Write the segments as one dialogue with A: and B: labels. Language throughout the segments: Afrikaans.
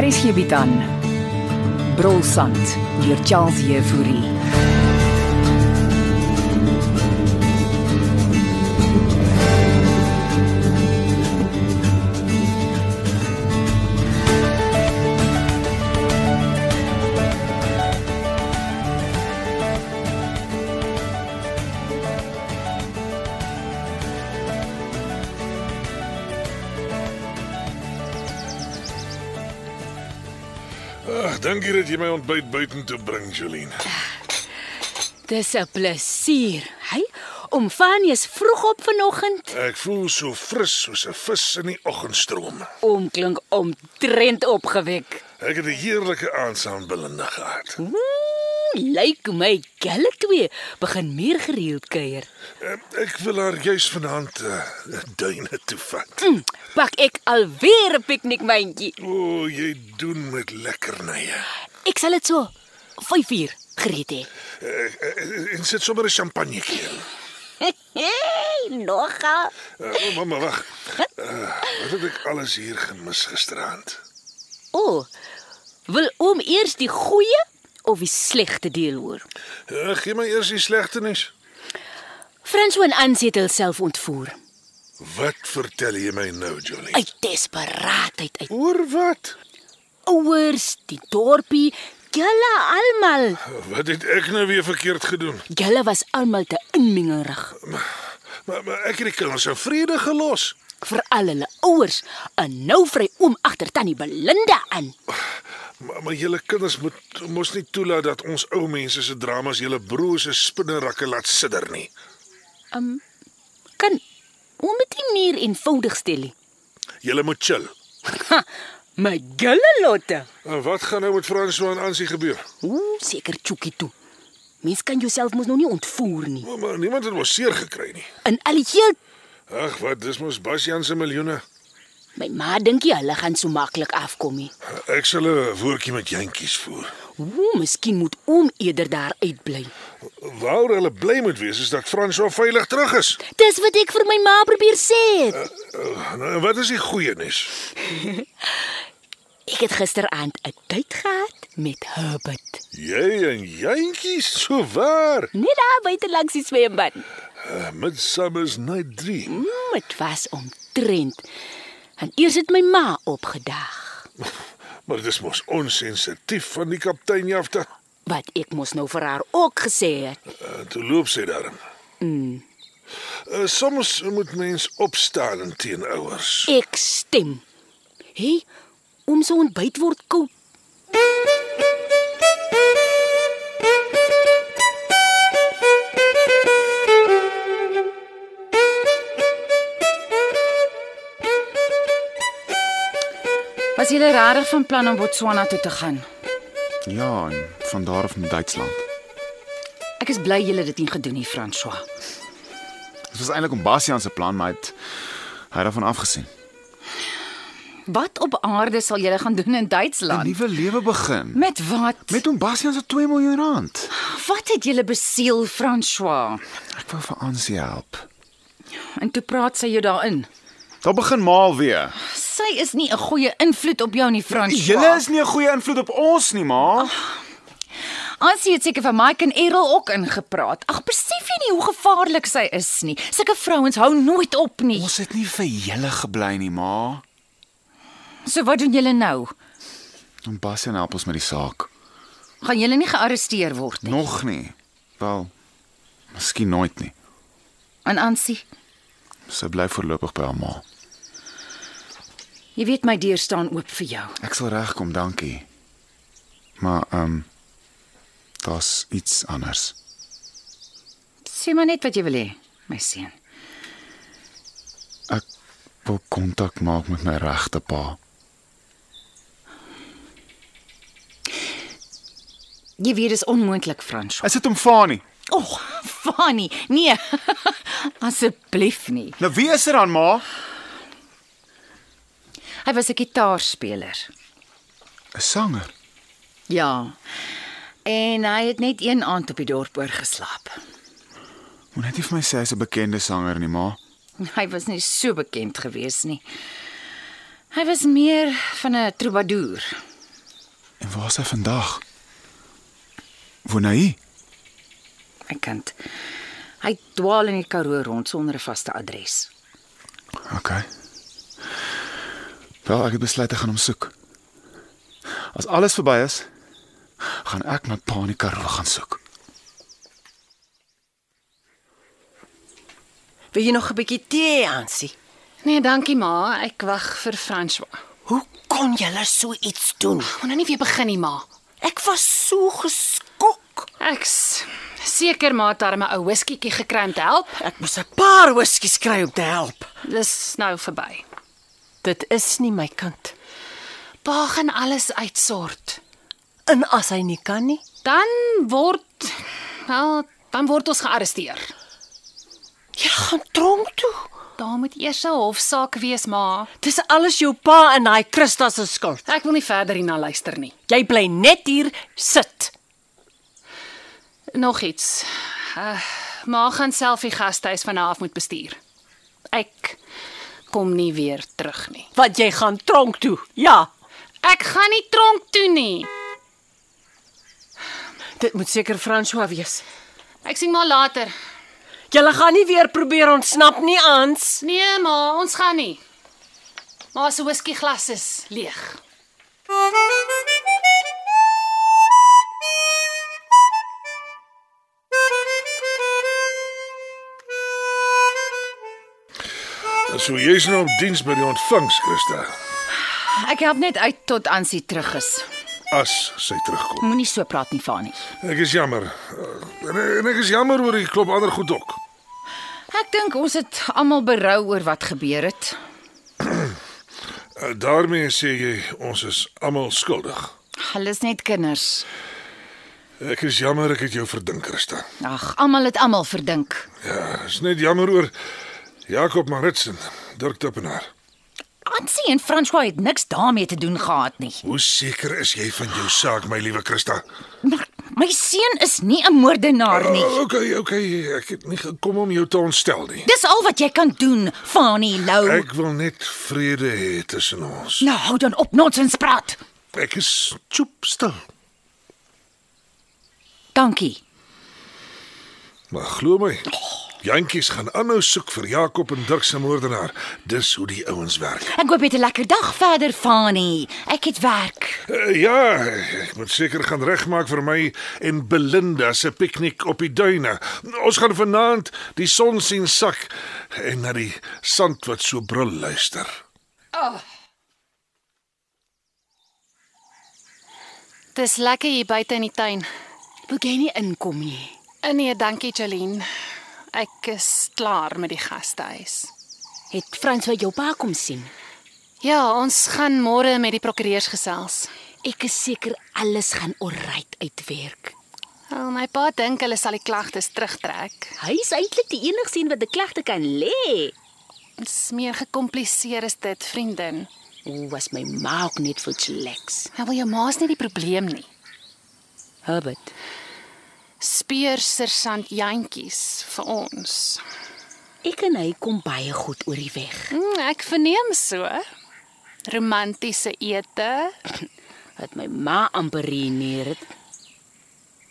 A: Hier is hierby dan. Brolsand deur Charles Jefouri.
B: Ag, dankie dat jy my ontbyt buitentoe bring, Jolien.
C: Dis 'n plesier, hy, om Fanies vroeg op vanoggend
B: Ek voel so fris soos 'n vis in die oggendstroom.
C: omklink omtrent opgewek.
B: Ek het 'n heerlike aand saam met Belinda gehad.
C: Ooh, lyk my julle twee begin meer gereeld kuier.
B: Eh, Ek wil haar juis vanaand uh, duine toe vat.
C: Hm, pak ek alweer 'n piknikmandjie.
B: O, oh, jy doen met lekkernye.
C: Ek sal dit so 5uur gereed hê.
B: Eh, eh, En sit sommer 'n champagnetjie in.
C: Hey, nogal.
B: Uh, Mamma, wag. Uh, wat het ek alles hier gemis gisteraand?
C: O, wil oom eers die goeie of die slegte deel hoor?
B: Uh, gee my eers die slegte nuus.
C: François en Ansie het hulself ontvoer
B: Wat vertel jy my nou, Jolien?
C: uit desperaatheid, uit
B: Oor wat?
C: ouers, die dorpie, julle almal.
B: Wat het ek nou weer verkeerd gedoen?
C: Julle was almal te inmengerig
B: Maar, maar ek het die kinders in vrede gelos.
C: vir al hulle ouers. En nou vry oom agter tannie Belinda aan.
B: Maar, maar julle kinders moet mos nie toelaat dat ons ou mense se dramas julle broers se spinnerakke laat sidder nie.
C: Ehm, Kan oom dit nie meer eenvoudig stel nie?
B: Julle moet chill.
C: Ha, my gulle lotte.
B: En wat gaan nou met François en Ansie gebeur?
C: Ooh, seker chookie toe. Mens kan jouself mos nog nie ontvoer nie.
B: Maar, maar niemand het mos seer gekry nie.
C: In al die heel
B: Ag, wat, dis mos Basjan se miljoene.
C: my ma dink jy hulle gaan so maklik afkom nie.
B: Ek sal 'n woordjie met jentjies voer.
C: Ooh, miskien moet oom eerder daar uitbly.
B: Waar hulle bly moet wees is dat François veilig terug is.
C: Dis wat ek vir my ma probeer sê. het.
B: Uh, nou, en wat is die goeie nuus?
C: Ek het gisteraand 'n tyd gehad met Herbert.
B: Jy en jentjies, so waar.
C: Net daar buite langs die swembad.
B: Uh, Midsummer's Night Dream.
C: Mm, dit was omtrent. En eers het my ma opgedag.
B: Maar dis mos onsensitief van die kaptein Jafta.
C: Wat ek mos nou vir haar ook gesê het.
B: Uh, toe loop sy daarin. Mm. Uh, soms moet mens opstaan teen ouers.
C: Ek stem. Hé, hey, om so ontbyt word koud.
D: Was jy regtig van plan om Botswana toe te gaan?
E: Ja, en van daar af na Duitsland.
D: Ek is bly jy het dit nie gedoen nie, François.
E: Dit was eintlik om Bastian se plan, maar hy het hy het daarvan afgesien.
D: Wat op aarde sal jy gaan doen in
E: 'n
D: Duitsland?
E: Nuwe lewe begin.
D: Met wat?
E: Met hom Bastian se 2 miljoen rand.
D: wat het jy besiel, François?
E: Ek wou vir Ansie help.
D: En toe praat sy jou daarin.
E: Daar begin maal weer.
D: Sy is nie 'n goeie invloed op jou nie, François.
E: Nee, Julle is nie 'n goeie invloed op ons nie, ma.
D: Ansie het seker vir Mike en Errol ook ingepraat. Ag, besef jy nie hoe gevaarlik sy is nie? Sulke vrouens hou nooit op nie.
E: Ons het nie vir julle gebly nie, ma.
D: So wat doen julle nou?
E: En Bastian help ons met die saak.
D: Gaan julle nie gearresteer word nie?
E: Nog nie. Wel, miskien nooit nie.
D: En Ansie,
E: Sy bly voorlopig by haar ma.
D: jy weet my deur staan oop vir jou.
E: Ek sal regkom, dankie. Maar ehm um, daar's iets anders.
D: Sê maar net wat jy wil hê, my seun.
E: Ek wil kontak maak met my regte pa.
D: Jy weet dis onmoontlik, Frans.
E: Is dit hom Fani?
D: Oh, Fanny, nee. Asseblief nie.
E: er Nou wie is dit dan ma?
D: Hy was 'n gitaarspeler.
E: 'n Sanger.
D: Ja. En hy het net een aand op die dorp oorgeslaap.
E: Moet net nie vir my sê hy's 'n bekende sanger nie, ma.
D: Hy was nie so bekend gewees nie. Hy was meer van 'n troubadour.
E: En waar is hy vandag? Woon hy?
D: Ek kan. Hy dwaal in die Karoo rond sonder 'n vaste adres.
E: Okay. Wel, ek het besluit ek gaan hom soek. As alles verby is, gaan ek my pa in die Karoo gaan soek.
C: Wil jy nog 'n bietjie tee, Ansie?
F: Nee, dankie ma, ek wag vir François.
C: Hoe kon jy so iets doen?
F: Moet nou nie weer begin nie, ma.
C: Ek was so geskok.
F: Ek's seker maar dat hy 'n ou whiskietjie gekry om te help.
C: Ek moes 'n paar whiskies kry om te help.
F: Dis nou verby.
C: Dit is nie my kind.
F: Pa gaan alles uitsort.
C: En as hy nie kan nie,
F: Dan word wel, dan word ons gearresteer.
C: jy gaan tronk toe.
F: Daar moet eers 'n hofsaak wees, ma.
C: Dis alles jou pa en daai Christa se skuld.
F: Ek wil nie verder hierna luister nie.
C: Jy bly net hier sit.
F: Nog iets. Uh, ma gaan self die gastehuis van haar af moet bestuur. Ek kom nie weer terug nie.
C: Want jy gaan tronk toe. Ja,
F: Ek gaan nie tronk toe nie.
C: dit moet seker François wees.
F: Ek sien maar later.
C: Julle gaan nie weer probeer ontsnap nie, Ans.
F: Nee, ma, ons gaan nie. Ma se whiskieglas is leeg.
B: So jy's nou op diens by die ontvangs, Christa,
D: Ek help net uit tot Ansie terug is.
B: as sy terugkom.
D: Moenie so praat nie, Fanie.
B: Ek is jammer. Eh, En, en ek is jammer oor die klop ander goed ook.
D: Ek dink ons het almal berou oor wat gebeur het.
B: Eh, Daarmee sê jy ons is almal skuldig.
D: Hulle is net kinders.
B: Ek is jammer ek het jou verdink, Christa.
D: Ag, almal het almal verdink.
B: Ja, is net jammer oor Jakob Maritsen, Dirk Toppenaar.
D: Ansie en François het niks daarmee te doen gehad nie.
B: Hoe seker is jy van jou saak, my liewe Christa?
D: Maar my seun is nie 'n moordenaar nie.
B: Oh, okay, okay, ek het nie gekom om jou te ontstel nie.
D: Dis al wat jy kan doen, Fanie Lou.
B: Ek wil net vrede hê tussen ons.
D: Nou hou dan op nonsens praat.
B: Ek is choop stil.
D: Dankie.
B: Maar glo my, Jantjies gaan aanhou soek vir Jakob en Dirk se moordenaar. Dis hoe die ouens werk.
D: Ek hoop jy het 'n lekker dag verder, Fanie. Ek het werk.
B: Uh, ja, ek moet seker gaan regmaak vir my en Belinda se piknik op die duine. Ons gaan vanaand die son sien sak en na die sand wat so brul luister.
F: Dis lekker hier buite in die tuin.
C: Wil jy nie inkom nie?
F: Eh, Nee, dankie, Jolene. Ek is klaar met die gastehuis.
C: Het François jou pa kom sien?
F: Ja, ons gaan môre met die prokureurs gesels.
C: Ek is seker alles gaan orait uitwerk.
F: Al my pa dink hulle sal die klagtes terugtrek.
C: Hy is eintlik die enigste wat 'n klagte kan lê.
F: Dit's meer gekompliseer as dit, vriendin.
C: Hoe was my ma ook net vir sleks.
F: Nou wil jou ma's nie die probleem nie.
C: Herbert,
F: Speur sergeant Jantjies vir ons.
C: ek en hy kom baie goed oor die weg.
F: Mm, ek verneem so. Romantiese ete.
C: Wat my ma amper reëneer het.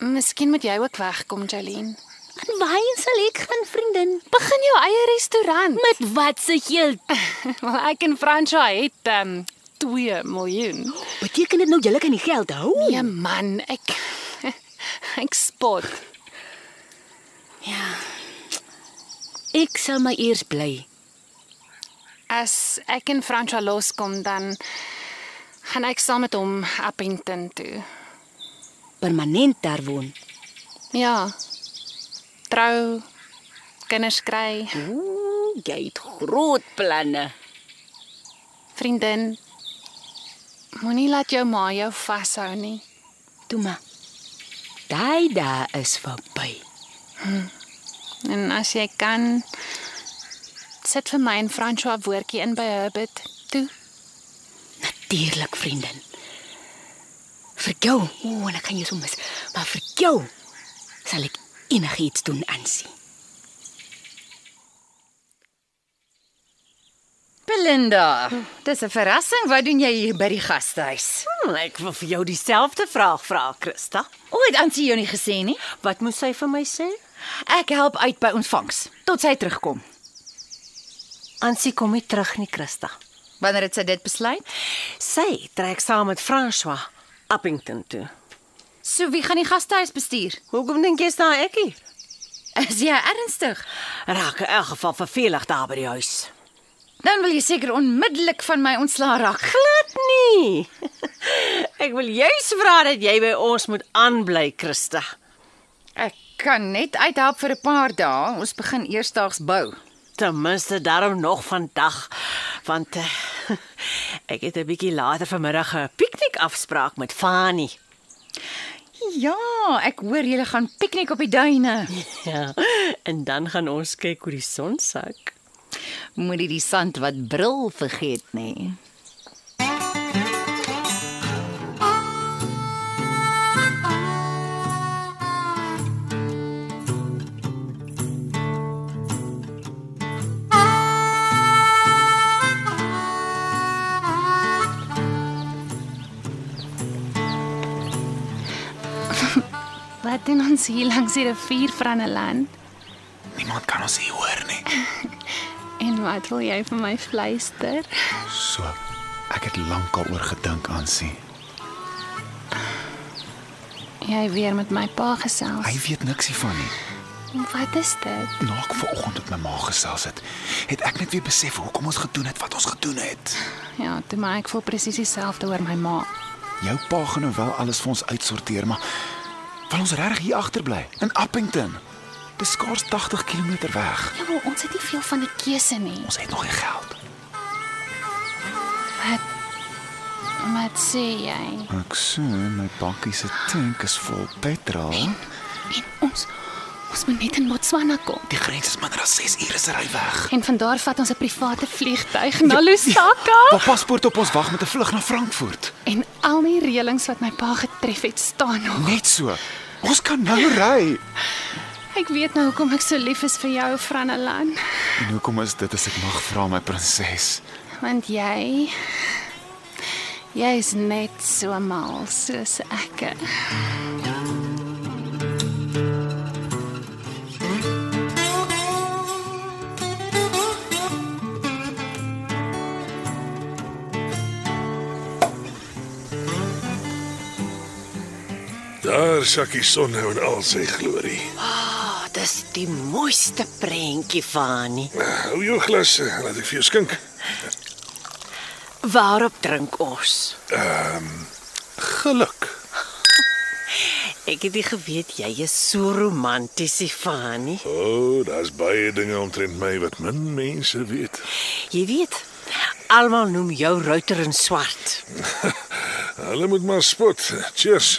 F: Miskien moet jy ook wegkom, Jolene.
C: En waarheen sal ek gaan, vriendin?
F: Begin jou eie restaurant.
C: Met wat se geld?
F: Wel, ek en Fransha het ehm um, 2 miljoen.
C: Beteken dit nou julle kan die geld hou?
F: Nee man, ek ek spot.
C: Ek sal maar eers bly.
F: As ek en Fransha loskom dan gaan ek saam met hom Appington toe.
C: Permanent daar woon.
F: Ja. Trou, kinders kry,
C: Ooh, jy het groot planne.
F: vriendin. Moenie laat jou ma jou vashou nie.
C: Toe maar. Daai dae is verby.
F: En as jy kan sit vir my en Fransha 'n woordjie in by Herbert toe.
G: Natuurlik, vriendin. Vir jou, o, en ek kan jou so mis, maar vir jou sal ek enigiets doen, Ansie.
D: Belinda, dis 'n verrassing. Wat doen jy hier by die gastehuis?
C: Hmm, ek wil vir jou dieselfde vraag vra, Christa.
D: O, het Ansie jou nie gesê nie?
C: Wat moes sy vir my sê?
D: Ek help uit by ontvangs tot sy terugkom.
C: Ansie kom nie terug nie, Christa.
D: Wanneer het sy dit besluit?
C: Sy trek saam met François Appington toe.
D: So wie gaan die gastehuis bestuur?
C: Hoekom dink jy staan ek hier?
D: Is jy ernstig?
C: Raak in elk geval vervelig daar by die huis.
D: Dan wil jy seker onmiddellik van my ontslaa raak.
C: Glad nie. ek wil juis vra dat jy by ons moet aanbly, Christa.
D: Ek kan net uithelp vir 'n paar dae. Ons begin eersdaags bou.
C: Ten minste daarom nog vandag, want uh, ek het 'n bietjie later vanmiddag 'n piknik afspraak met Fani.
D: Ja, ek hoor julle gaan piknik op die duine.
C: Ja. En dan gaan ons kyk hoe die son sak.
G: Moenie die sand wat bril vergeet nie.
F: Wat doen ons hier langs die rivier Frannelan?
E: Niemand kan ons hier hoor nie.
F: En wat wil jy vir my fluister?
E: So, ek het lankal oor gedink aan sy.
F: Jy weer met my pa
E: Hy
F: gesels.
E: weet niks hiervan nie.
F: Wat is dit?
E: Na ek vanoggend met my ma gesels het, het ek net weer besef hoekom ons gedoen het wat ons gedoen het.
F: Ja, toe maar ek voel presies dieselfde oor my ma.
E: Jou pa gaan nou wel alles vir ons uitsorteer, maar wil ons regtig hier agterbly in Appington? Dis skaars 80 km weg.
F: Ja, maar ons het nie veel van 'n keuse nie.
E: Ons het nog nie geld.
F: Wat wat sê jy?
E: Ek sien my bakkie se tank is vol petrol.
F: En ons ons moet net in Botswana kom.
E: Die grens is minder as 6 ure se ry weg.
F: En van daar vat ons 'n private vliegtyg na Lusaka.
E: Waar paspoort op ons wag met 'n vlug na Frankfurt.
F: En al die reëlings wat my pa getref het, staan nog.
E: Net so. Ons kan nou ry.
F: Ek weet nou hoekom ek so lief is vir jou, Franelan,
E: En hoekom is dit as ek mag vra my prinses?
F: want jy jy is net so mal soos ek.
B: Daar sak die son nou in al sy glorie.
C: Ah, oh, dis die mooiste prentjie, Fani.
B: Hou jou glas, eh, laat ek vir jou skink.
C: Waarop drink ons?
B: Geluk.
C: Ek het nie geweet jy is so romanties, Fani.
B: O, oh, daar's baie dinge omtrent my wat min mense weet.
C: Jy weet, almal noem jou ruiter in swart.
B: Hulle moet maar spot. Cheers.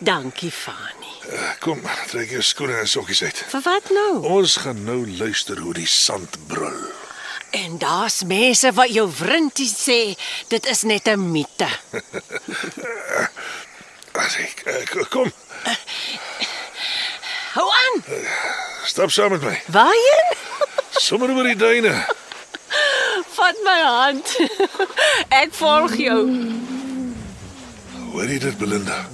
C: Dankie, Fani.
B: Eh, Kom, trek jou skoene en sokkies uit.
C: Vir wat nou?
B: Ons gaan nou luister hoe die sand brul.
C: En daar's mense wat jou vrintie sê dit is net 'n mite.
B: As ek eh, kom,
C: Hou aan.
B: stap saam met my.
C: Waarheen?
B: Sommer oor die duine.
C: Vat my hand. Ek volg jou.
B: Hoor jy dit, Belinda?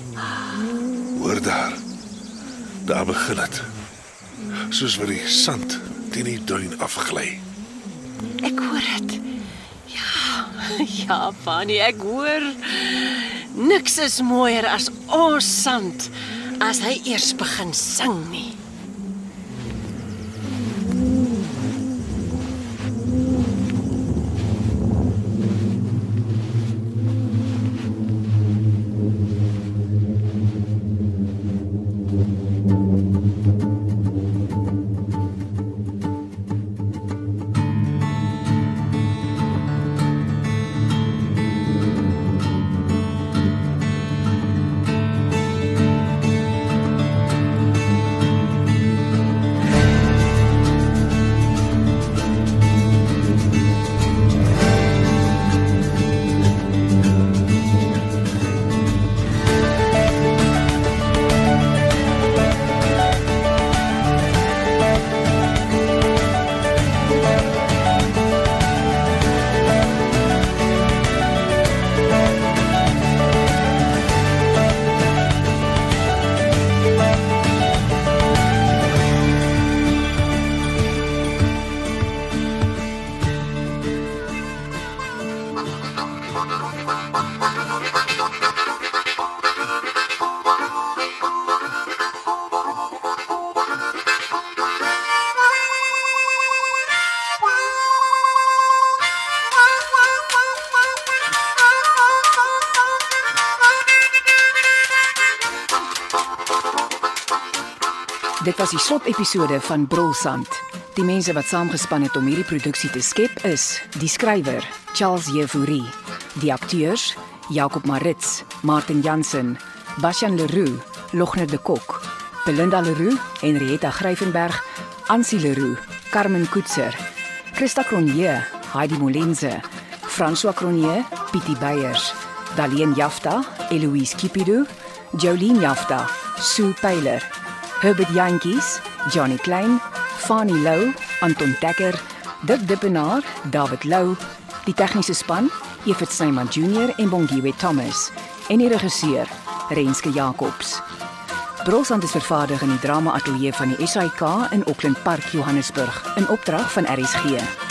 B: Hoor daar. Daar begin dit. Soos wat die sand teen die duin afgly.
C: Ek hoor dit. Ja. Ja, Fani, ek hoor. Niks is mooier as ons sand as hy eers begin sing nie.
D: Dit was die slotepisode van Brolsand. Die mense wat saamgespan het om hierdie produksie te skep is die skrywer Charles Jefouri, die akteurs Jakob Marits, Martin Jansen, Bashan Leroux, Logner de Kok, Belinda Leroux, Henrietta Gryvenberg, Ansie Leroux, Carmen Koetser, Christa Cronje, Heidi Molense, François Cronje, Pietie Beyers, Daleen Jafta, Eloise Kipido, Jolien Jafta, Sue Pyler Herbert Jantjies, Johnny Klein, Fanny Lou, Anton Dekker, Dirk Dippenaar, David Lou, die tegniese span, Evert Snyman Junior en Bongwe Thomas en die regisseur Renske Jacobs. Brosand is vervaardig in die drama ateljee van die SAIK in Auckland Park, Johannesburg, in opdrag van RSG.